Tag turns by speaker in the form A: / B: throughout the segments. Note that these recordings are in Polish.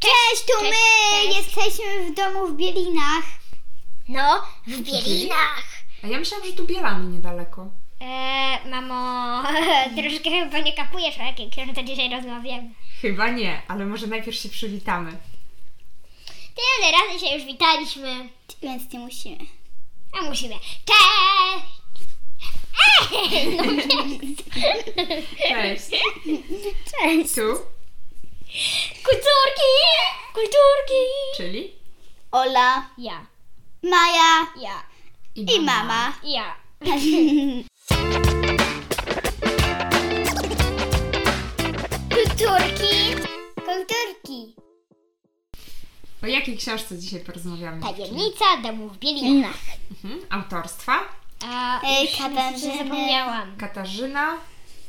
A: Cześć, tu
B: Cześć,
A: my
B: cześć.
A: jesteśmy w domu w Bielinach.
B: No, w Bielinach.
C: A ja myślałam, że tu Bielany niedaleko.
B: Eee, mamo, troszkę chyba nie kapujesz, o jakiej książce dzisiaj rozmawiamy.
C: Chyba nie, ale może najpierw się przywitamy.
B: Tyle razy się już witaliśmy,
A: Więc nie musimy.
B: a musimy. Cześć! Ej, no jest.
C: Cześć.
A: Cześć.
C: Tu,
B: Kulturki! Kulturki!
C: czyli
A: Ola,
B: Ja,
A: Maja
B: ja,
A: i mama.
B: ja.
A: Kulturki. Kulturki.
C: O jakiej książce dzisiaj porozmawiamy?
B: Tak
C: dziewczyny?
B: Tajemnica domu w Bielinach. E,
A: Bielinach.
C: Mhm. Autorstwa
B: A,
A: Ej,
B: już
A: Katarzyny.
B: zapomniałam.
C: Katarzyna,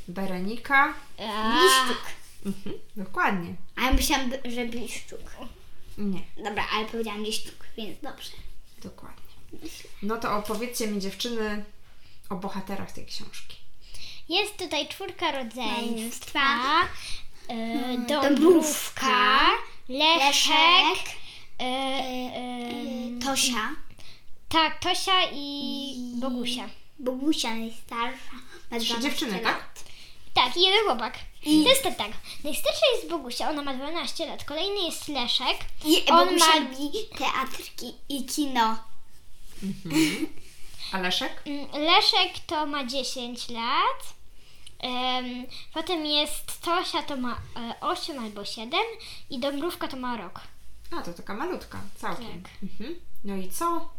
C: Berenika.
B: A,
A: Liszczuk.
C: Mhm. Dokładnie.
A: A ja myślałam, że Bliszczuk.
C: Nie,
A: Dobra, ale powiedziałam Liszczuk, więc dobrze.
C: dokładnie. No to opowiedzcie mi dziewczyny o bohaterach tej książki.
B: Jest tutaj czwórka rodzeństwa, e,
A: Dąbrówka,
B: Dąbrówka, Leszek,
A: Leszek, y,
B: e, e,
A: Tosia.
B: tak, Tosia i Bogusia.
A: Bogusia najstarsza. Ma
C: Trzy
A: 12
C: dziewczyny,
A: lat.
C: tak?
B: Tak, i jeden chłopak. To jest tak, najstarsza jest Bogusia, ona ma 12 lat, kolejny jest Leszek,
A: I
B: On
A: Bogusia
B: ma-
A: lubi teatrki i kino.
C: A Leszek?
B: Mm, Leszek to ma 10 lat, em, potem jest Tosia, to ma 8 albo 7 i Dąbrówka to ma rok.
C: A, No to taka malutka, całkiem.
B: Tak.
C: Mhm. No i co?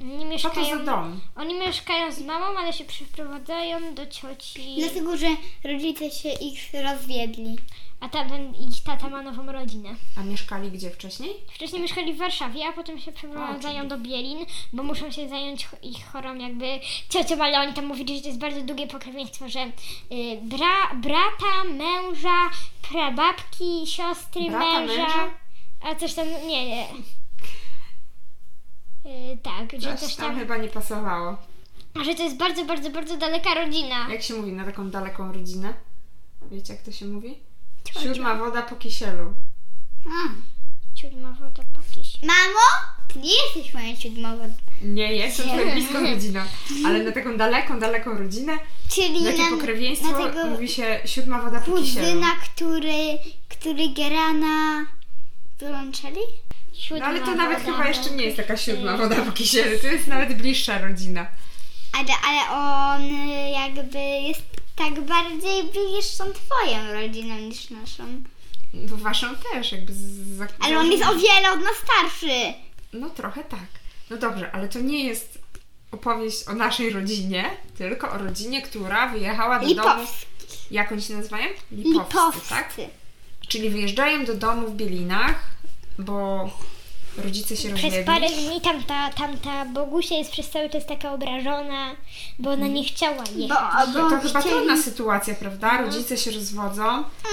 B: Oni
C: Co to
B: mieszkają,
C: za dom?
B: oni mieszkają z mamą, ale się przyprowadzają do cioci,
A: Dlatego, że rodzice się ich rozwiedli.
B: a tamten ich tata ma nową rodzinę.
C: A mieszkali gdzie wcześniej?
B: Wcześniej mieszkali w Warszawie, a potem się
C: O,
B: przeprowadzają
C: czyli-
B: do Bielin, bo muszą się zająć cho- ich chorą jakby ciocią, ale oni tam mówili, że to jest bardzo długie pokrewieństwo, że y, bra, brata, męża, prababki, siostry
C: Brata,
B: męża,
C: męża?
B: a coś tam, nie, nie. Y, tak, że
C: Coś,
B: coś
C: tam
B: tam,
C: chyba nie pasowało.
B: że to jest bardzo, bardzo, bardzo daleka rodzina.
C: Jak się mówi na taką daleką rodzinę? Wiecie, jak to się mówi? Siódma woda po kisielu.
A: A.
B: Siódma woda po kisielu.
A: Mamo, ty nie jesteś moją siódmową.
C: Nie, ja jestem twoją bliską rodziną, ale na taką daleką, daleką rodzinę,
A: Czyli
C: takie
A: na-
C: pokrewieństwo
A: na tego
C: mówi się siódma woda po kisielu.
A: kuzyna, który, który gra na wiolonczeli?
C: No
B: Siódma
C: ale to nawet
B: woda
C: chyba
B: po
C: jeszcze nie jest taka siódma
B: kisielu.
C: woda po kisielu, to jest nawet bliższa rodzina.
A: Ale, ale on y, jakby jest tak bardziej bliższą twoją rodziną niż naszą.
C: Bo waszą też jakby z, z, z
A: Ale on jest o wiele od nas starszy.
C: No trochę tak. No dobrze, ale to nie jest opowieść o naszej rodzinie, tylko o rodzinie, która wyjechała do domu.
A: Lipowscy.
C: Jak oni się nazywają?
A: Lipowscy.
C: tak? Czyli wyjeżdżają do domu w Bielinach, bo rodzice się
B: Przez
C: rozwiedli.
B: parę dni tamta, tamta Bogusia jest przez cały czas taka obrażona, bo ona nie chciała
A: Bo,
B: jechać.
A: bo
C: To, to chyba
A: chcieli-
C: trudna sytuacja, prawda?
B: No.
C: Rodzice się rozwodzą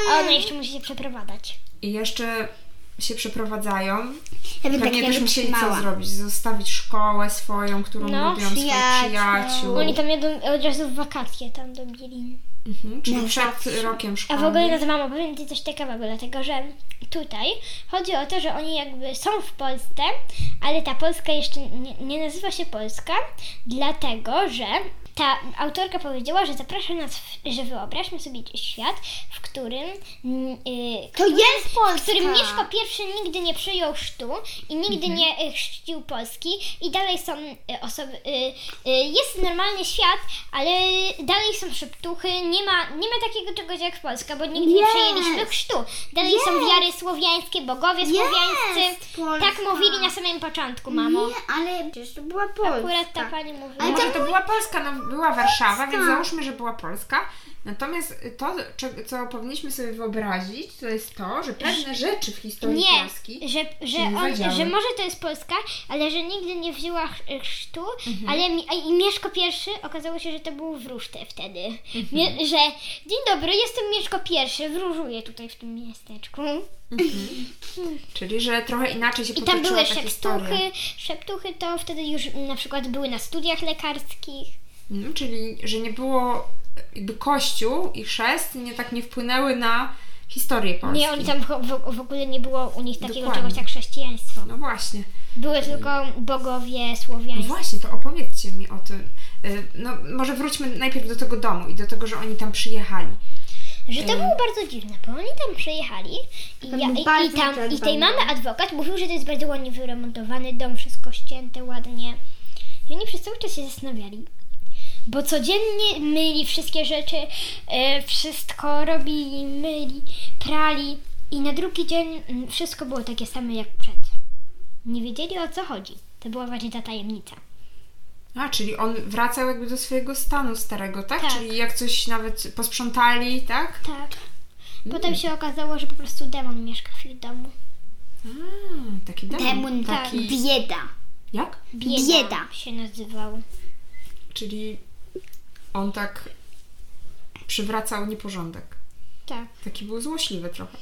B: A ona jeszcze musi się przeprowadzać.
C: i jeszcze się przeprowadzają.
A: Ja bym tak
C: Pewnie
A: nie
C: też musieli co
A: wytrzymała.
C: zrobić? Zostawić szkołę swoją, którą
B: No,
C: lubią, swoich
A: przyjaciół.
C: przyjaciół.
B: Oni tam jadą od razu w wakacje tam do Bielin.
C: Mhm, czyli
A: No,
C: przed
A: zawsze.
C: rokiem
B: A
C: szkolnym.
B: w ogóle, no mamo, powiem Ci coś ciekawego, dlatego że tutaj chodzi o to, że oni jakby są w Polsce, ale ta Polska jeszcze nie, nie nazywa się Polska, dlatego że ta autorka powiedziała, że zaprasza nas, w, że wyobraźmy sobie świat, w którym mm, y,
A: To jest Polska.
B: w którym Mieszko I nigdy nie przyjął chrztu i nigdy nie y, chrzcił Polski i dalej są y, osoby, y, y, jest normalny świat, ale dalej są szeptuchy, nie ma, nie ma takiego czegoś jak Polska, bo nigdy nie
A: Jest.
B: przyjęliśmy chrztu. Dalej są
A: Jest.
B: wiary słowiańskie, bogowie słowiańscy.
A: Polska.
B: Tak mówili na samym początku, mamo.
A: Nie, ale przecież to była Polska.
B: Akurat ta pani mówiła.
C: Ale
A: Tak. Ale
C: może
A: to
C: to była Polska, no była Warszawa, więc
A: Polska.
C: załóżmy, że była Polska. Natomiast to, cze- co powinniśmy sobie wyobrazić, to jest to, że pewne rzeczy w historii
B: Nie,
C: Polski
B: że, że,
C: nie
B: on,
C: zadziały.
B: że może to jest Polska, ale że nigdy nie wzięła chrz- chrztu,
C: Mhm.
B: ale mi, a- i Mieszko I okazało się, że to był wróżte wtedy.
C: Mhm.
B: Mie, że dzień dobry, jestem Mieszko I, wróżuję tutaj w tym miasteczku.
C: Mhm. Czyli, że trochę inaczej się
B: I tam były
C: potoczyła ta historia.
B: szeptuchy, szeptuchy to wtedy już m, na przykład były na studiach lekarskich.
C: Mhm, czyli, że nie było jakby kościół i chrzest nie tak nie wpłynęły na historię Polski.
B: Nie, oni tam w, w- w ogóle nie było u nich takiego
C: Dokładnie.
B: czegoś jak chrześcijaństwo.
C: No właśnie.
B: Były tylko bogowie
C: No
B: słowiańscy.
C: właśnie, to opowiedzcie mi o tym. Y, No może wróćmy najpierw do tego domu i do tego, że oni tam przyjechali.
B: Że to było bardzo dziwne, bo oni tam przyjechali i,
A: To
B: ja,
A: był
B: i, i,
A: bardzo
B: tam, i tej
A: zadbany
B: mamy adwokat mówił, że to jest bardzo ładnie wyremontowany dom, wszystko ścięte ładnie. I oni przez cały czas się zastanawiali, bo codziennie myli wszystkie rzeczy, e, wszystko robili, myli, prali i na drugi dzień mm, wszystko było takie same jak przed. Nie wiedzieli o co chodzi. To była właśnie ta tajemnica.
C: A, czyli on wracał jakby do swojego stanu starego, tak?
B: Tak.
C: Czyli jak coś nawet posprzątali, tak?
B: Tak.
A: Mm.
B: Potem się okazało, że po prostu demon mieszka w ich domu.
C: A, taki demon.
A: Demon
B: tak.
A: taki. Bieda.
C: Jak?
B: Bieda,
A: Bieda.
B: się nazywał.
C: Czyli on tak przywracał nieporządek.
B: Tak.
C: Taki był złośliwy trochę.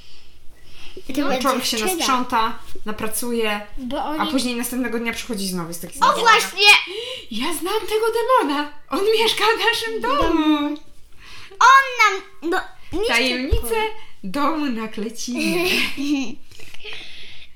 A: To
C: No,
A: będzie
C: człowiek się
A: dziewczyna.
C: nasprząta, napracuje,
B: Bo
C: a
B: oni.
C: później następnego dnia przychodzi znowu z taki
A: O właśnie!
C: Ja znam tego demona! On mieszka w naszym domu!
A: On nam... No, nie
C: Tajemnice domu na Klecinie.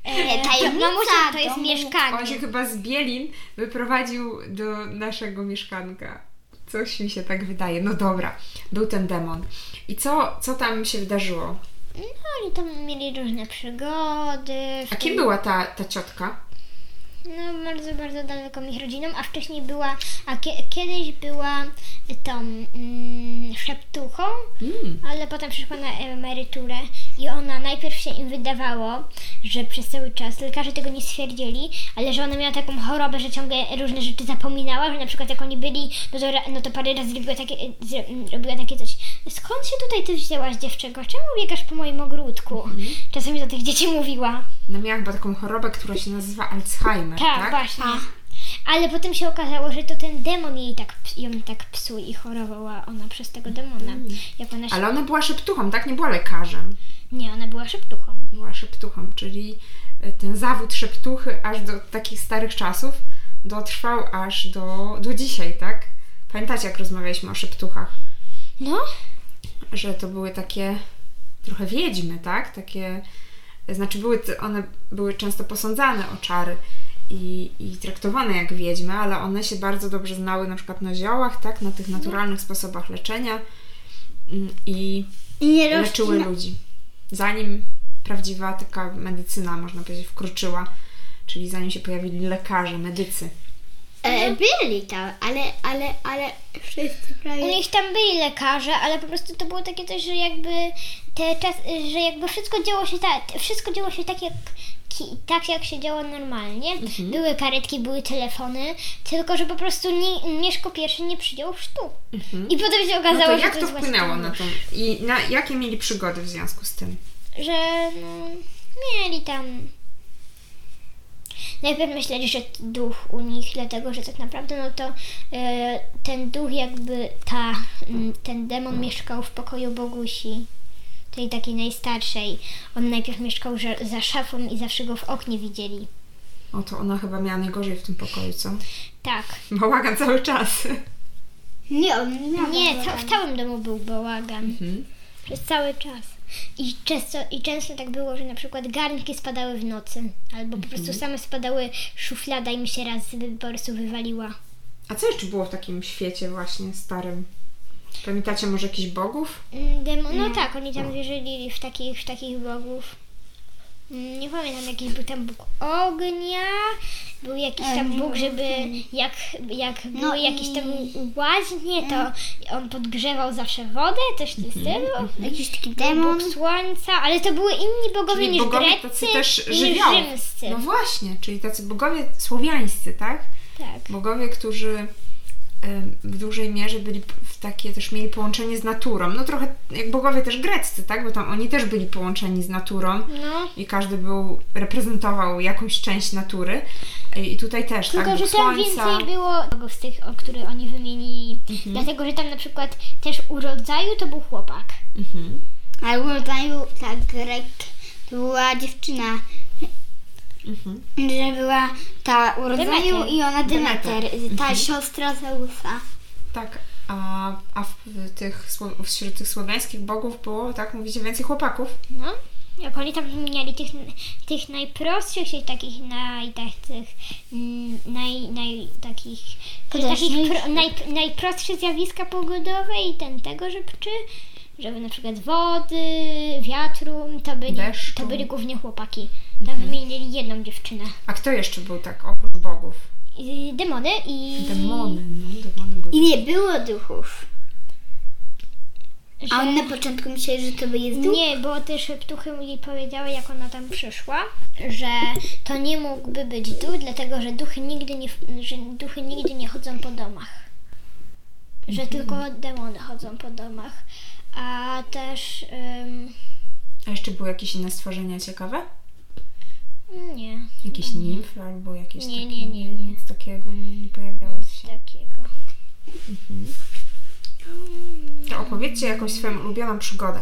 A: e,
B: No
A: tajemnica
B: musi, to jest
A: domu.
C: On się
B: mieszkanie.
C: chyba z Bielin wyprowadził do naszego mieszkanka. Coś mi się tak wydaje. No dobra, był ten demon. I co, co tam się wydarzyło?
B: No oni tam mieli różne przygody. w
C: A kim
B: tym-
C: była ta, ta ciotka?
B: No bardzo, bardzo daleką ich rodziną, a wcześniej była, a kie, kiedyś była tą mm, szeptuchą,
C: Mm.
B: ale potem przyszła na emeryturę i ona najpierw się im wydawało, że przez cały czas lekarze tego nie stwierdzili, ale że ona miała taką chorobę, że ciągle różne rzeczy zapominała, że na przykład jak oni byli, no to, ra- no to parę razy robiła takie, zro- mm, robiła takie coś. Skąd się tutaj ty wzięłaś dziewczynko? Czemu biegasz po moim ogródku?
C: Mhm.
B: Czasami do tych dzieci mówiła.
C: No miała chyba taką chorobę, która się nazywa Alzheimer,
B: Tak,
C: tak?
B: właśnie. Ale potem się okazało, że to ten demon jej tak, ps- ją tak psuł i chorowała ona przez tego demona. Jak ona się...
C: Mhm. Ale ona była szeptuchą, tak? Nie była lekarzem.
B: Nie, ona była szeptuchą.
C: Była szeptuchą, czyli e, ten zawód szeptuchy aż do takich starych czasów dotrwał aż do, do dzisiaj, tak? Pamiętacie, jak rozmawialiśmy o szeptuchach?
B: No,
C: że to były takie trochę wiedźmy, tak? Takie, znaczy były, t- one były często posądzane o czary i, i traktowane jak wiedźmy, ale one się bardzo dobrze znały na przykład na ziołach, tak? Na tych naturalnych sposobach leczenia mm, i
A: I nie
C: leczyły
A: roślina.
C: ludzi. Zanim prawdziwa taka medycyna, można powiedzieć, wkroczyła, czyli zanim się pojawili lekarze, medycy. No
A: E, byli tam, ale, ale, ale wszyscy
B: u
A: prawie...
B: nich tam byli lekarze, ale po prostu to było takie coś, że jakby te czas, że jakby wszystko działo się tak, wszystko działo się tak jak ki- tak jak się działo normalnie.
C: Mhm.
B: Były karetki, były telefony, tylko że po prostu nie, Mieszko pierwszy nie przyjął sztuk. I potem się
C: No
B: okazało,
C: to
B: że
C: jak to
B: jest właśnie
C: wpłynęło
B: demon.
C: na to? I na, jakie mieli przygody w związku z tym?
B: że no, mieli tam. Najpierw myśleli, że duch u nich, dlatego że tak naprawdę no to e, ten duch jakby ta, mm, ten demon mieszkał w pokoju Bogusi, tej takiej najstarszej. On najpierw mieszkał że, za szafą i zawsze go w oknie widzieli.
C: O, to ona chyba miała najgorzej w tym pokoju, co?
B: Tak.
C: Bałagan cały czas.
A: Nie, on nie miał
B: Nie,
A: tego
B: ca- w całym domu był bałagan.
A: Mhm.
B: Przez cały czas. I często, I często tak było, że na przykład garnki spadały w nocy, albo po
A: Mhm.
B: prostu same spadały, szuflada im się raz wy- po prostu wywaliła.
C: A co jeszcze było w takim świecie właśnie starym? Pamiętacie może jakichś bogów?
B: Mm, Demon, no tak, oni tam wierzyli w takich, w takich bogów. Mm, Nie pamiętam, jakiś był tam Bóg ognia, był jakiś
A: E,
B: tam
A: nie No
B: Bóg, żeby jak, jak były
A: i- Mhm.
B: jakieś tam łaźnie, to on podgrzewał zawsze wodę, też z tym było.
A: Jakiś taki
B: Demon.
A: demon.
B: Bóg słońca, ale to były inni bogowie
C: Czyli
B: niż
C: bogowie
B: greccy
C: tacy też
B: i niż
C: żywiołów.
B: rzymscy.
C: No właśnie, czyli tacy bogowie słowiańscy, tak?
B: Tak.
C: Bogowie, którzy em, w dużej mierze byli p- w takie też mieli połączenie z naturą. No trochę jak bogowie też greccy, tak? Bo tam oni też byli połączeni z naturą
B: No,
C: i każdy był, reprezentował jakąś część natury. I i tutaj też,
B: tylko
C: tak?
B: że
C: Bóg
B: tam
C: słońca. Mhm.
B: więcej było bogów z tych, o które oni wymienili. Dlatego, że tam na przykład też u rodzaju to był chłopak.
C: Mhm.
A: Albo tam ta tak Grek to była dziewczyna,
C: Mhm.
A: że była ta urodzeniu
B: Demeter.
A: i ona Demeter,
C: Demeter.
A: ta siostra Zeusa.
C: Tak, A, a w tych, sło- wśród tych słowiańskich bogów było, tak mówicie, więcej chłopaków.
B: No, jak oni tam wymieniali tych, tych najprostszych, czyli takich naj, takich, mm, naj, naj, takich, takich
A: Podręcznych.
B: pro, naj, najprostsze zjawiska pogodowe i ten tego żebczy, żeby na przykład wody, wiatru, to byli,
C: Deszczu. Mhm.
B: to byli głównie chłopaki. Tam wymienili jedną dziewczynę.
C: A kto jeszcze był tak oprócz bogów?
B: I Demony i...
C: Demony, no demony były.
A: I nie było duchów.
B: Że...
A: A on na początku myślał, że to jest duch.
B: Nie, bo też Ptuchy mi powiedziały, jak ona tam przyszła, że to nie mógłby być duch, dlatego że duchy nigdy nie, że duchy nigdy nie chodzą po domach.
A: Mhm.
B: Że tylko demony chodzą po domach. A też. ym,
C: A jeszcze były jakieś inne stworzenia ciekawe?
B: nie,
C: Jakieś nimfy albo jakieś
B: Nie,
C: takie,
B: nie, nie, nie.
C: Nic takiego nie, nie pojawiało
B: nic
C: się.
B: takiego.
C: To opowiedzcie jakąś swoją ulubioną przygodę.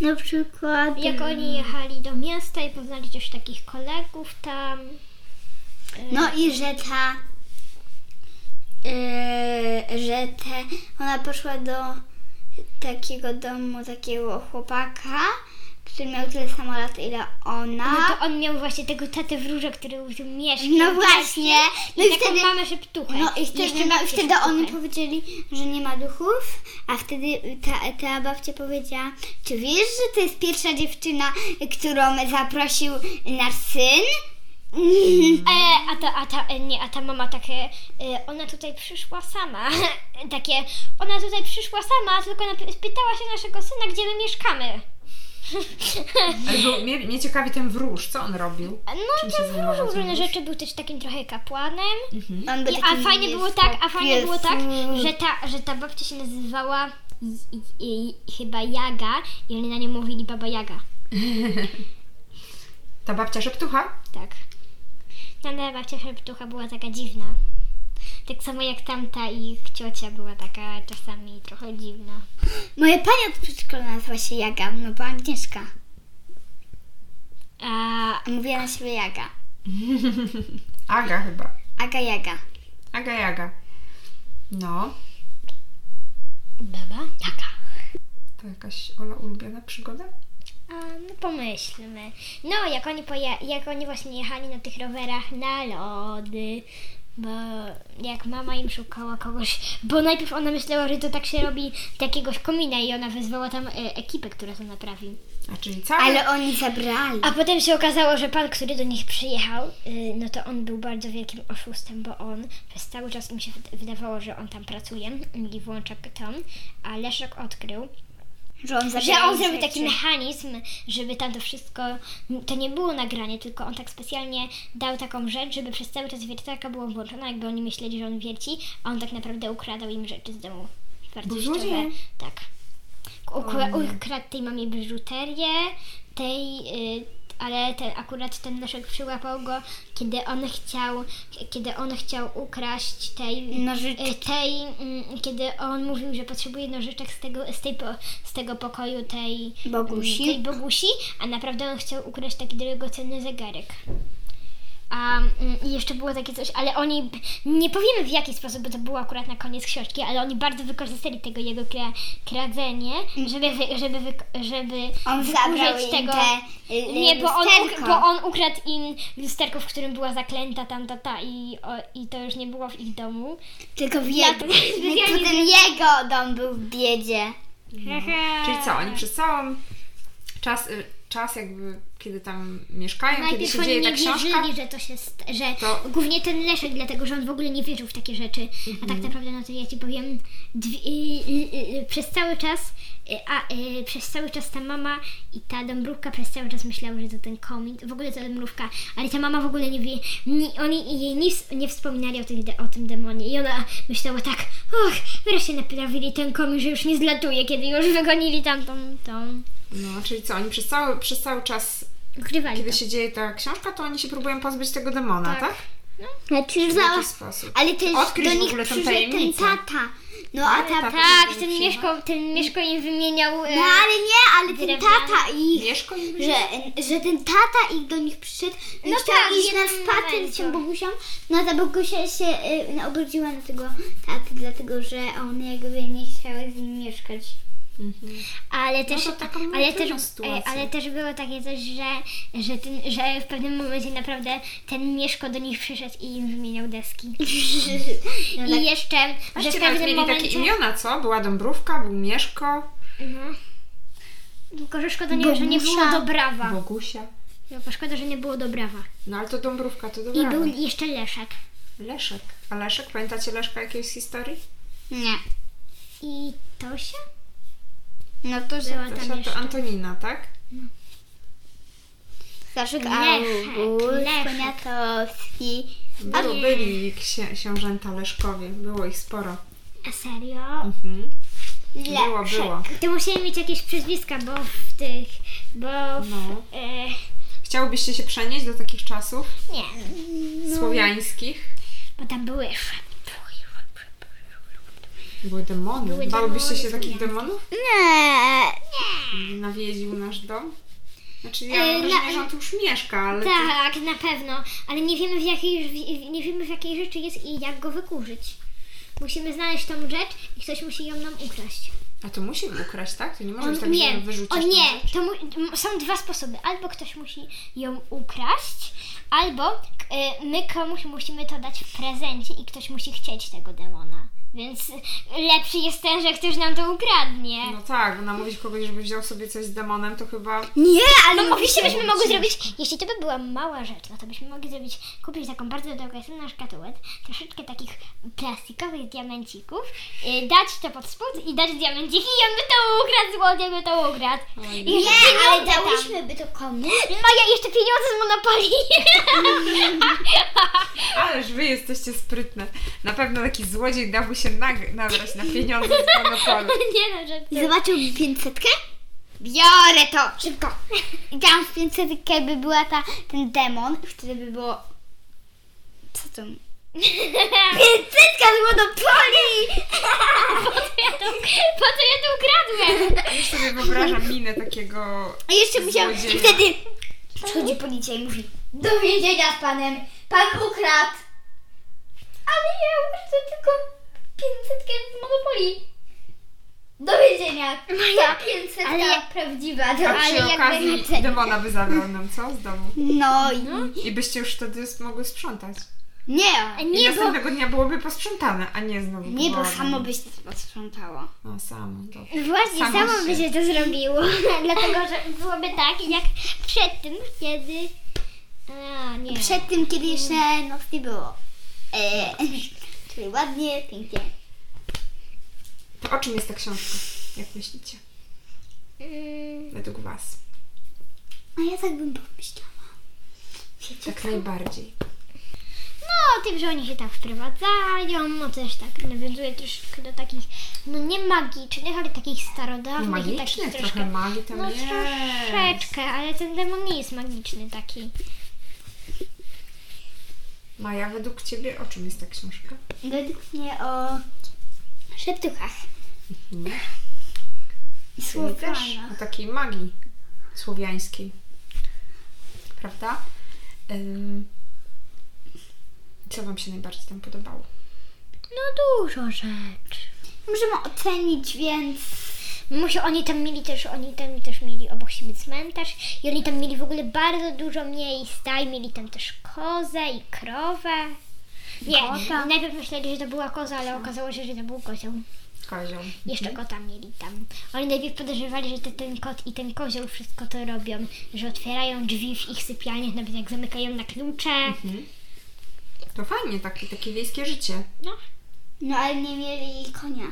A: Na przykład...
B: Jak oni jechali do miasta i poznali też takich kolegów tam.
A: No i że ta... Yy, że te... Ona poszła do takiego domu, takiego chłopaka, który miał tyle samo lat, ile ona.
B: No to on miał właśnie tego tatę wróża, który był tu mieszkał.
A: No właśnie. No
B: I,
A: i
B: taką
A: wtedy-
B: mamę szeptuchę.
A: No i wtedy, no, i wtedy oni powiedzieli, że nie ma duchów, a wtedy ta, ta babcia powiedziała, czy wiesz, że to jest pierwsza dziewczyna, którą zaprosił nasz syn? Mm.
B: E, a ta, a ta, e, nie, a ta mama takie, e, ona tutaj przyszła sama, takie, ona tutaj przyszła sama, tylko napy- spytała się naszego syna, gdzie my mieszkamy.
C: Ale był, mnie, mnie ciekawi ten wróż, co on robił?
B: No
C: Czym
B: to
C: się zajmował
B: wróżył
C: ten
B: różne
C: wróż?
B: rzeczy, był też takim trochę kapłanem.
A: On był
B: I,
A: taki
B: a fajnie było
A: pies,
B: tak, a fajnie
A: pies.
B: było tak, że ta, że ta babcia się nazywała i, i, i, chyba Jaga i oni na nią mówili Baba Jaga.
C: Ta babcia szeptucha?
B: Tak. Tamta babcia Szeptucha była taka dziwna. Tak samo jak tamta ich ciocia była taka czasami trochę dziwna.
A: Moja pani od przedszkola nazywa się Jaga, no bo Agnieszka,
B: A,
A: a mówiła na siebie Jaga.
C: Aga chyba.
A: Aga Jaga.
C: Aga Jaga. No,
B: baba? Jaka?
C: to jakaś Ola ulubiona przygoda?
B: A, no pomyślmy. No, jak oni, poja- jak oni właśnie jechali na tych rowerach na lody, bo jak mama im szukała kogoś, bo najpierw ona myślała, że to tak się robi takiegoś komina i ona wezwała tam e, ekipę, która to naprawi.
C: A czyli cały...
A: Ale oni zabrali.
B: A potem się okazało, że pan, który do nich przyjechał, y, no to on był bardzo wielkim oszustem, bo on przez cały czas im się wyd- wydawało, że on tam pracuje i włącza tom, a Leszek odkrył,
A: że on
B: że on zrobił
A: rzeczy.
B: taki mechanizm, żeby tam to wszystko, to nie było nagranie, tylko on tak specjalnie dał taką rzecz, żeby przez cały czas wiertarka była włączona, jakby oni myśleli, że on wierci, a on tak naprawdę ukradał im rzeczy z domu. Wartościowe.
C: złodziejem.
B: Tak.
A: Mm.
B: Ukra- ukradł tej mamie biżuterię, tej, y, ale ten, akurat ten naszek przyłapał go, kiedy on chciał, kiedy on chciał ukraść tej
A: Nożyczki.
B: y, tej, mm, kiedy on mówił, że potrzebuje nożyczek z tego, z tej, po- z tego pokoju tej mm,
A: Bogusi.
B: tej Bogusi, a naprawdę on chciał ukraść taki drogocenny zegarek. A mm, i jeszcze było takie coś, ale oni, nie powiemy w jaki sposób, bo to było akurat na koniec książki, ale oni bardzo wykorzystali tego jego kra- kradzenie, żeby, wy- żeby, wyko- żeby
A: Mhm. On zabrał im te, y,
B: nie, bo on,
A: lusterko.
B: uk- bo on ukradł im lusterko, w którym była zaklęta tamta ta i, o, i to już nie było w ich domu.
A: Tylko w
B: Ja
A: jego.
B: to specjalnie
A: Potem jego dom był w biedzie.
C: Czyli co, oni przez całą czas, y, czas jakby, kiedy tam mieszkają, Tak, kiedy
B: Najpierw
C: się
B: oni
C: dzieje ta
B: nie
C: książka,
B: wierzyli, że to się, st- że
C: To-
B: głównie ten Leszek, dlatego że on w ogóle nie wierzył w takie rzeczy, a
C: Mhm.
B: tak naprawdę, no to ja Ci powiem, dwi- i- i- i- i- y, przez cały czas, y, a y, przez cały czas ta mama i ta Dąbrówka przez cały czas myślały, że to ten komin, w ogóle to Dąbrówka, ale ta mama w ogóle nie wie, nie, oni jej nie, ws- nie wspominali o, tych de- o tym demonie i ona myślała tak, och, wreszcie naprawili ten komin, że już nie zlatuje, kiedy już wygonili tamtą, tą,
C: no, czyli co, oni przez cały, przez cały czas,
B: ukrywali
C: kiedy
B: to.
C: się dzieje ta książka, to oni się próbują pozbyć tego demona, tak?
A: Znaczy,
C: W jakiś sposób.
A: ale też
C: Odkryć
A: do
C: w
A: nich
C: ogóle tą
A: przyszedł ten
C: tajemnicę.
A: tata. No a
C: Ale
A: ta...
C: tak.
B: Tak, ten Mieszko, ten Mieszko im wymieniał... e,
A: No ale nie, ale ten
B: Drewniany.
A: tata ich...
C: Mieszko i
A: Że, że ten tata ich do nich przyszedł i
B: No
A: chciał
B: tak, w
A: iść na
B: jednym
A: spacer z
B: momencie.
A: tą Bogusią, no a ta Bogusia się y, no, obrodziła na tego taty, dlatego że one jakby nie chciały z nim mieszkać.
C: Mhm.
B: Ale też,
C: to taka
B: ale,
C: trudna
B: też
C: sytuacja.
B: e, ale też było takie coś, że, że, ten, że w pewnym momencie naprawdę ten Mieszko do nich przyszedł i im wymieniał deski.
A: No, tak.
B: I jeszcze, że w
C: Właściwie nawet
B: pewnym
C: mieli
B: momencie...
C: takie imiona, co? Była Dąbrówka, był Mieszko,
B: Mhm. Tylko, że szkoda, nie, że nie było
A: Bogusia.
B: dobrawa.
C: Bogusia.
B: Tylko szkoda, że nie było dobrawa.
C: No ale to Dąbrówka, to
B: I
C: dobra.
B: był jeszcze Leszek.
C: Leszek. A Leszek, pamiętacie Leszka jakiejś historii?
A: Nie.
B: I Tosia?
A: No to
B: Była
A: że...
B: tam
C: Kasia, to
B: jeszcze.
C: Antonina, tak?
A: Staszek
B: Leszek,
A: August
B: Leszek.
A: Poniatowski.
C: Było,
B: nie.
C: byli księ, książęta Leszkowie, było ich sporo.
B: A serio?
C: Mhm. Było,
A: Leszek.
C: było.
B: Ty musieli mieć jakieś przezwiska, bo w tych... Bo w...
C: No.
B: E,
C: Chciałybyście się przenieść do takich czasów
B: nie,
C: słowiańskich?
B: bo tam były...
C: Były demony.
B: Były
C: Bałybyście się
B: demony
C: takich
B: słowiańskie.
C: demonów?
A: Nie.
C: Nawiedził nasz dom? Znaczy ja
B: E,
C: mam
B: na-
C: wrażenie, że on tu już mieszka, ale to
B: Tak, na pewno, ale nie wiemy w jakiej, w- nie wiemy w jakiej rzeczy jest i jak go wykurzyć. Musimy znaleźć tą rzecz i ktoś musi ją nam ukraść.
C: A to musi ukraść, tak? To nie może
B: On,
C: być tak, że
B: nie,
C: wyrzucić
B: o nie, to mu, m- są dwa sposoby. Albo ktoś musi ją ukraść, albo k- y, my komuś musimy to dać w prezencie i ktoś musi chcieć tego demona. Więc lepszy jest ten, że ktoś nam to ukradnie.
C: No tak, bo namówić kogoś, żeby wziął sobie coś z demonem, to chyba...
A: Nie, ale
B: No oczywiście byśmy mogli zrobić, jeśli to by była mała rzecz, no to byśmy mogli zrobić, kupić taką bardzo drogą na szkatułek, troszeczkę takich plastikowych diamencików, y, dać to pod spód i dać diamenciki i on by to ukradł, złodziej by to ukradł. I
A: Nie,
B: jeszcze
A: ale
B: pieniądze tam.
A: dałyśmy by to komuś.
B: Maja, jeszcze pieniądze z Monopolii.
C: Ależ wy jesteście sprytne. Na pewno taki złodziej dałby się nag- nabrać na pieniądze z monopolu.
B: Nie no, że...
A: Zobaczył pięćsetkę? Biorę to! Szybko! I tam w pięćsetkę by była ta, ten demon, wtedy by było... Co to? Pięćsetka z Monopoli!
B: Po co ja to ukradłem?
C: Już sobie wyobrażam minę takiego...
A: A jeszcze musiał... I
C: Złodzieja.
A: wtedy przychodzi policja i mówi Do więzienia z panem! Pan ukradł!
B: Ale ja muszę tylko 500 z Monopolii.
A: Do więzienia!
B: Maja,
A: Ta pięćsetka
B: ale-
A: prawdziwa!
C: A
A: ale
C: przy
A: jakby
C: okazji
A: na cenie.
C: demona by zabrał nam, co? Z domu.
A: No i...
C: I byście już wtedy mogły sprzątać.
A: Nie!
C: I
B: Nie, bo...
C: następnego dnia byłoby posprzątane, a nie znowu
A: Nie, bo
C: położone.
A: samo byś to posprzątało.
C: No samo, dobra.
B: Właśnie,
C: Samo
B: samo, by
C: się.
B: się to zrobiło. Dlatego, że byłoby tak, jak przed tym, kiedy... A, nie.
A: Przed tym, kiedy jeszcze noc nie było. E, Mm. czyli ładnie, pięknie.
C: To o czym jest ta książka? Jak myślicie?
B: Mm,
C: Według was.
A: A ja tak bym pomyślała.
C: Tak najbardziej.
B: No, o tym, że oni się tak wprowadzają, no też tak nawiązuje troszeczkę do takich, no nie magicznych, ale takich
C: No
B: starodawnych i
C: magiczny,
B: takich
C: trochę
B: tak troszkę...
C: magii tam
B: No
C: jest.
B: troszeczkę, ale ten demon nie jest magiczny taki.
C: Maja, według ciebie o czym jest ta książka?
A: Według mnie o szeptuchach.
C: Mhm.
A: I
C: Czyli też o takiej magii słowiańskiej. Prawda? Ym, Co wam się najbardziej tam podobało?
B: No dużo rzeczy.
A: Możemy ocenić, więc...
B: Musi, oni tam mieli też, oni tam też mieli obok siebie cmentarz i oni tam mieli w ogóle bardzo dużo miejsca i mieli tam też kozę i krowę. Nie,
A: Kota.
B: najpierw myśleli, że to była koza, ale okazało się, że to był kozioł.
C: Kozioł.
B: Jeszcze
C: Mhm.
B: kota mieli tam. Oni najpierw podejrzewali, że te, ten kot i ten kozioł wszystko to robią, że otwierają drzwi w ich sypialniach, nawet jak zamykają na klucze.
C: Mhm. To fajnie, takie, takie wiejskie życie.
B: No.
A: No ale nie mieli konia.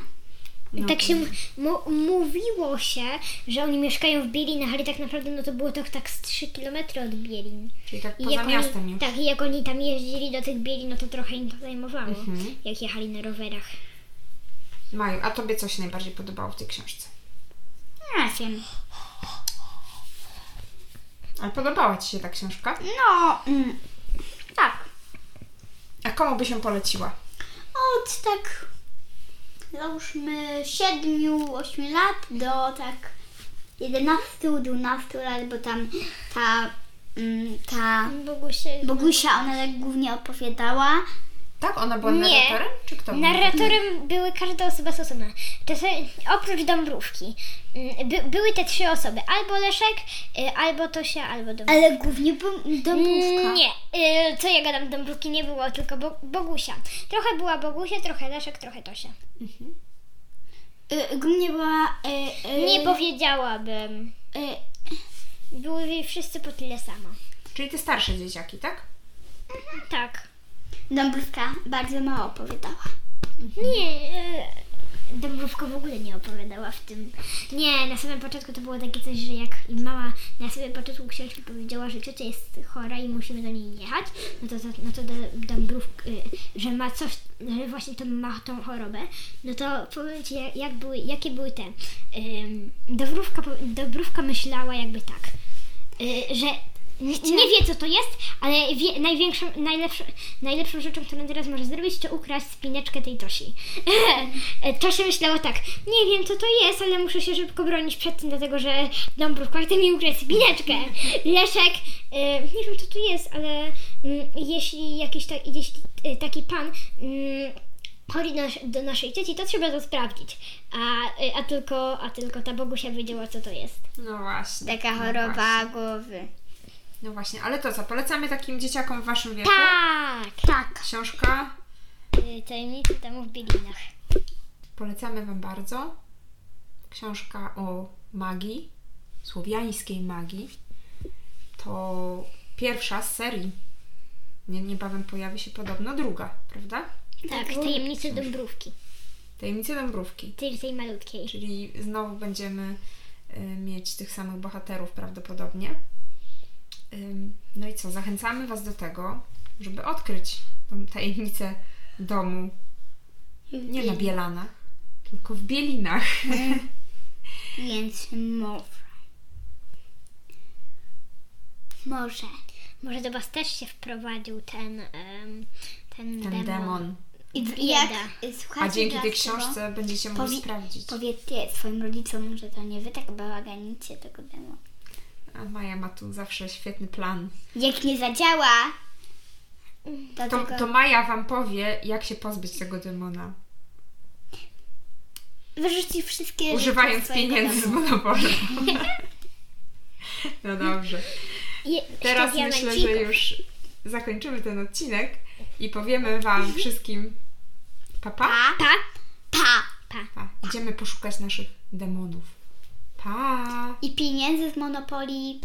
C: No,
B: tak się mu- mówiło się, że oni mieszkają w Bielinach, ale tak naprawdę no to było to tak z 3 km od Bielin.
C: Czyli tak
B: I
C: poza
B: jak
C: miastem
B: oni,
C: już.
B: Tak, i jak oni tam jeździli do tych Bielin, no to trochę im to zajmowało,
C: Mhm.
B: jak jechali na rowerach.
C: Maju, a tobie co się najbardziej podobało w tej książce?
A: Nie wiem.
C: Ale podobała ci się ta książka?
A: No, mm, tak.
C: A komu by się poleciła?
A: Od tak załóżmy 7-8 lat do tak 11-12 lat, bo tam ta, mm, ta
B: Bogusie.
A: Bogusia, ona tak głównie opowiadała.
C: Tak? Ona była
B: Nie.
C: narratorem? Czy kto? był?
B: Narratorem były każda osoba z osobna. Czasem, oprócz Dąbrówki. Mm, By, były te trzy osoby. Albo Leszek, y, albo Tosia, albo Dąbrówka.
A: Ale głównie bom- domówka.
B: Nie, y, co ja gadam, Dąbrówki nie było, tylko Bo- Bogusia. Trochę była Bogusia, trochę Leszek, trochę Tosia.
A: Y, Głównie była... Y, y,
B: Nie powiedziałabym.
A: y,
B: Były wszyscy po tyle samo.
C: Czyli te starsze dzieciaki, tak?
B: Tak.
A: Dąbrówka bardzo mało opowiadała.
B: Nie, y, Dąbrówka w ogóle nie opowiadała w tym. Nie, na samym początku to było takie coś, że jak im mama na samym początku książki powiedziała, że ciocia jest chora i musimy do niej jechać, no to, no to do, Dąbrówka, y, że ma coś, że właśnie to ma tą chorobę, no to powiem Ci, jak, jak były, jakie były te... ym, Dąbrówka, po- Dąbrówka myślała jakby tak, y, że nie, nie wie co to jest, ale wie, największą, najlepszą, najlepszą rzeczą, którą teraz może zrobić, to ukraść spineczkę tej Tosi. E, Tosia myślała tak, nie wiem co to jest, ale muszę się szybko bronić przed tym, dlatego że Dąbrówka chce mi ukraść spineczkę. Leszek, e, nie wiem co to jest, ale mm, jeśli jakiś ta, jeśli, e, taki pan mm, chodzi do, nas- do naszej cioci, to trzeba to sprawdzić. A, e, a, tylko, a tylko ta Bogusia wiedziała co to jest.
C: No właśnie.
B: Tak.
A: Taka
C: No
A: choroba
C: właśnie.
A: głowy.
C: No właśnie, ale to co? Polecamy takim dzieciakom w waszym wieku?
B: Tak!
A: Tak.
C: Książka.
B: Y, Tajemnicy domu w Bielinach.
C: Polecamy wam bardzo. Książka o magii, słowiańskiej magii. To pierwsza z serii. Nie, niebawem pojawi się podobno druga, prawda?
B: Tak, tajemnice Dąbrówki.
C: Tajemnice Dąbrówki.
B: Tej, tej malutkiej.
C: Czyli znowu będziemy y, mieć tych samych bohaterów prawdopodobnie. Ym, No i co? Zachęcamy Was do tego, żeby odkryć tą tajemnicę domu. Nie no, na Bielanach, tylko w Bielinach.
A: Więc może. Może.
B: Może do Was też się wprowadził ten, em, ten,
C: Ten demon.
A: I
B: bieda.
A: słuchajcie,
C: A dzięki tej
A: dlaczego
C: książce będziecie mogli
A: powi-
C: sprawdzić.
A: Powiedzcie swoim rodzicom, że to nie wy tak bałaganicie tego demo.
C: A Maja ma tu zawsze świetny plan.
A: Jak nie zadziała, to,
C: To,
A: tego...
C: to Maja Wam powie, jak się pozbyć tego demona.
A: wyrzuci wszystkie rzeczy
C: Używając
A: z swojego
C: pieniędzy z
A: domu.
C: monopolu. No dobrze.
B: Je,
C: Teraz
B: szczyt
C: myślę, że
B: diamencików.
C: już zakończymy ten odcinek i powiemy Wam wszystkim papa. Pa.
A: Pa, pa.
B: Pa.
C: Pa. Idziemy poszukać naszych demonów. Pa!
A: I pieniędzy z Monopoli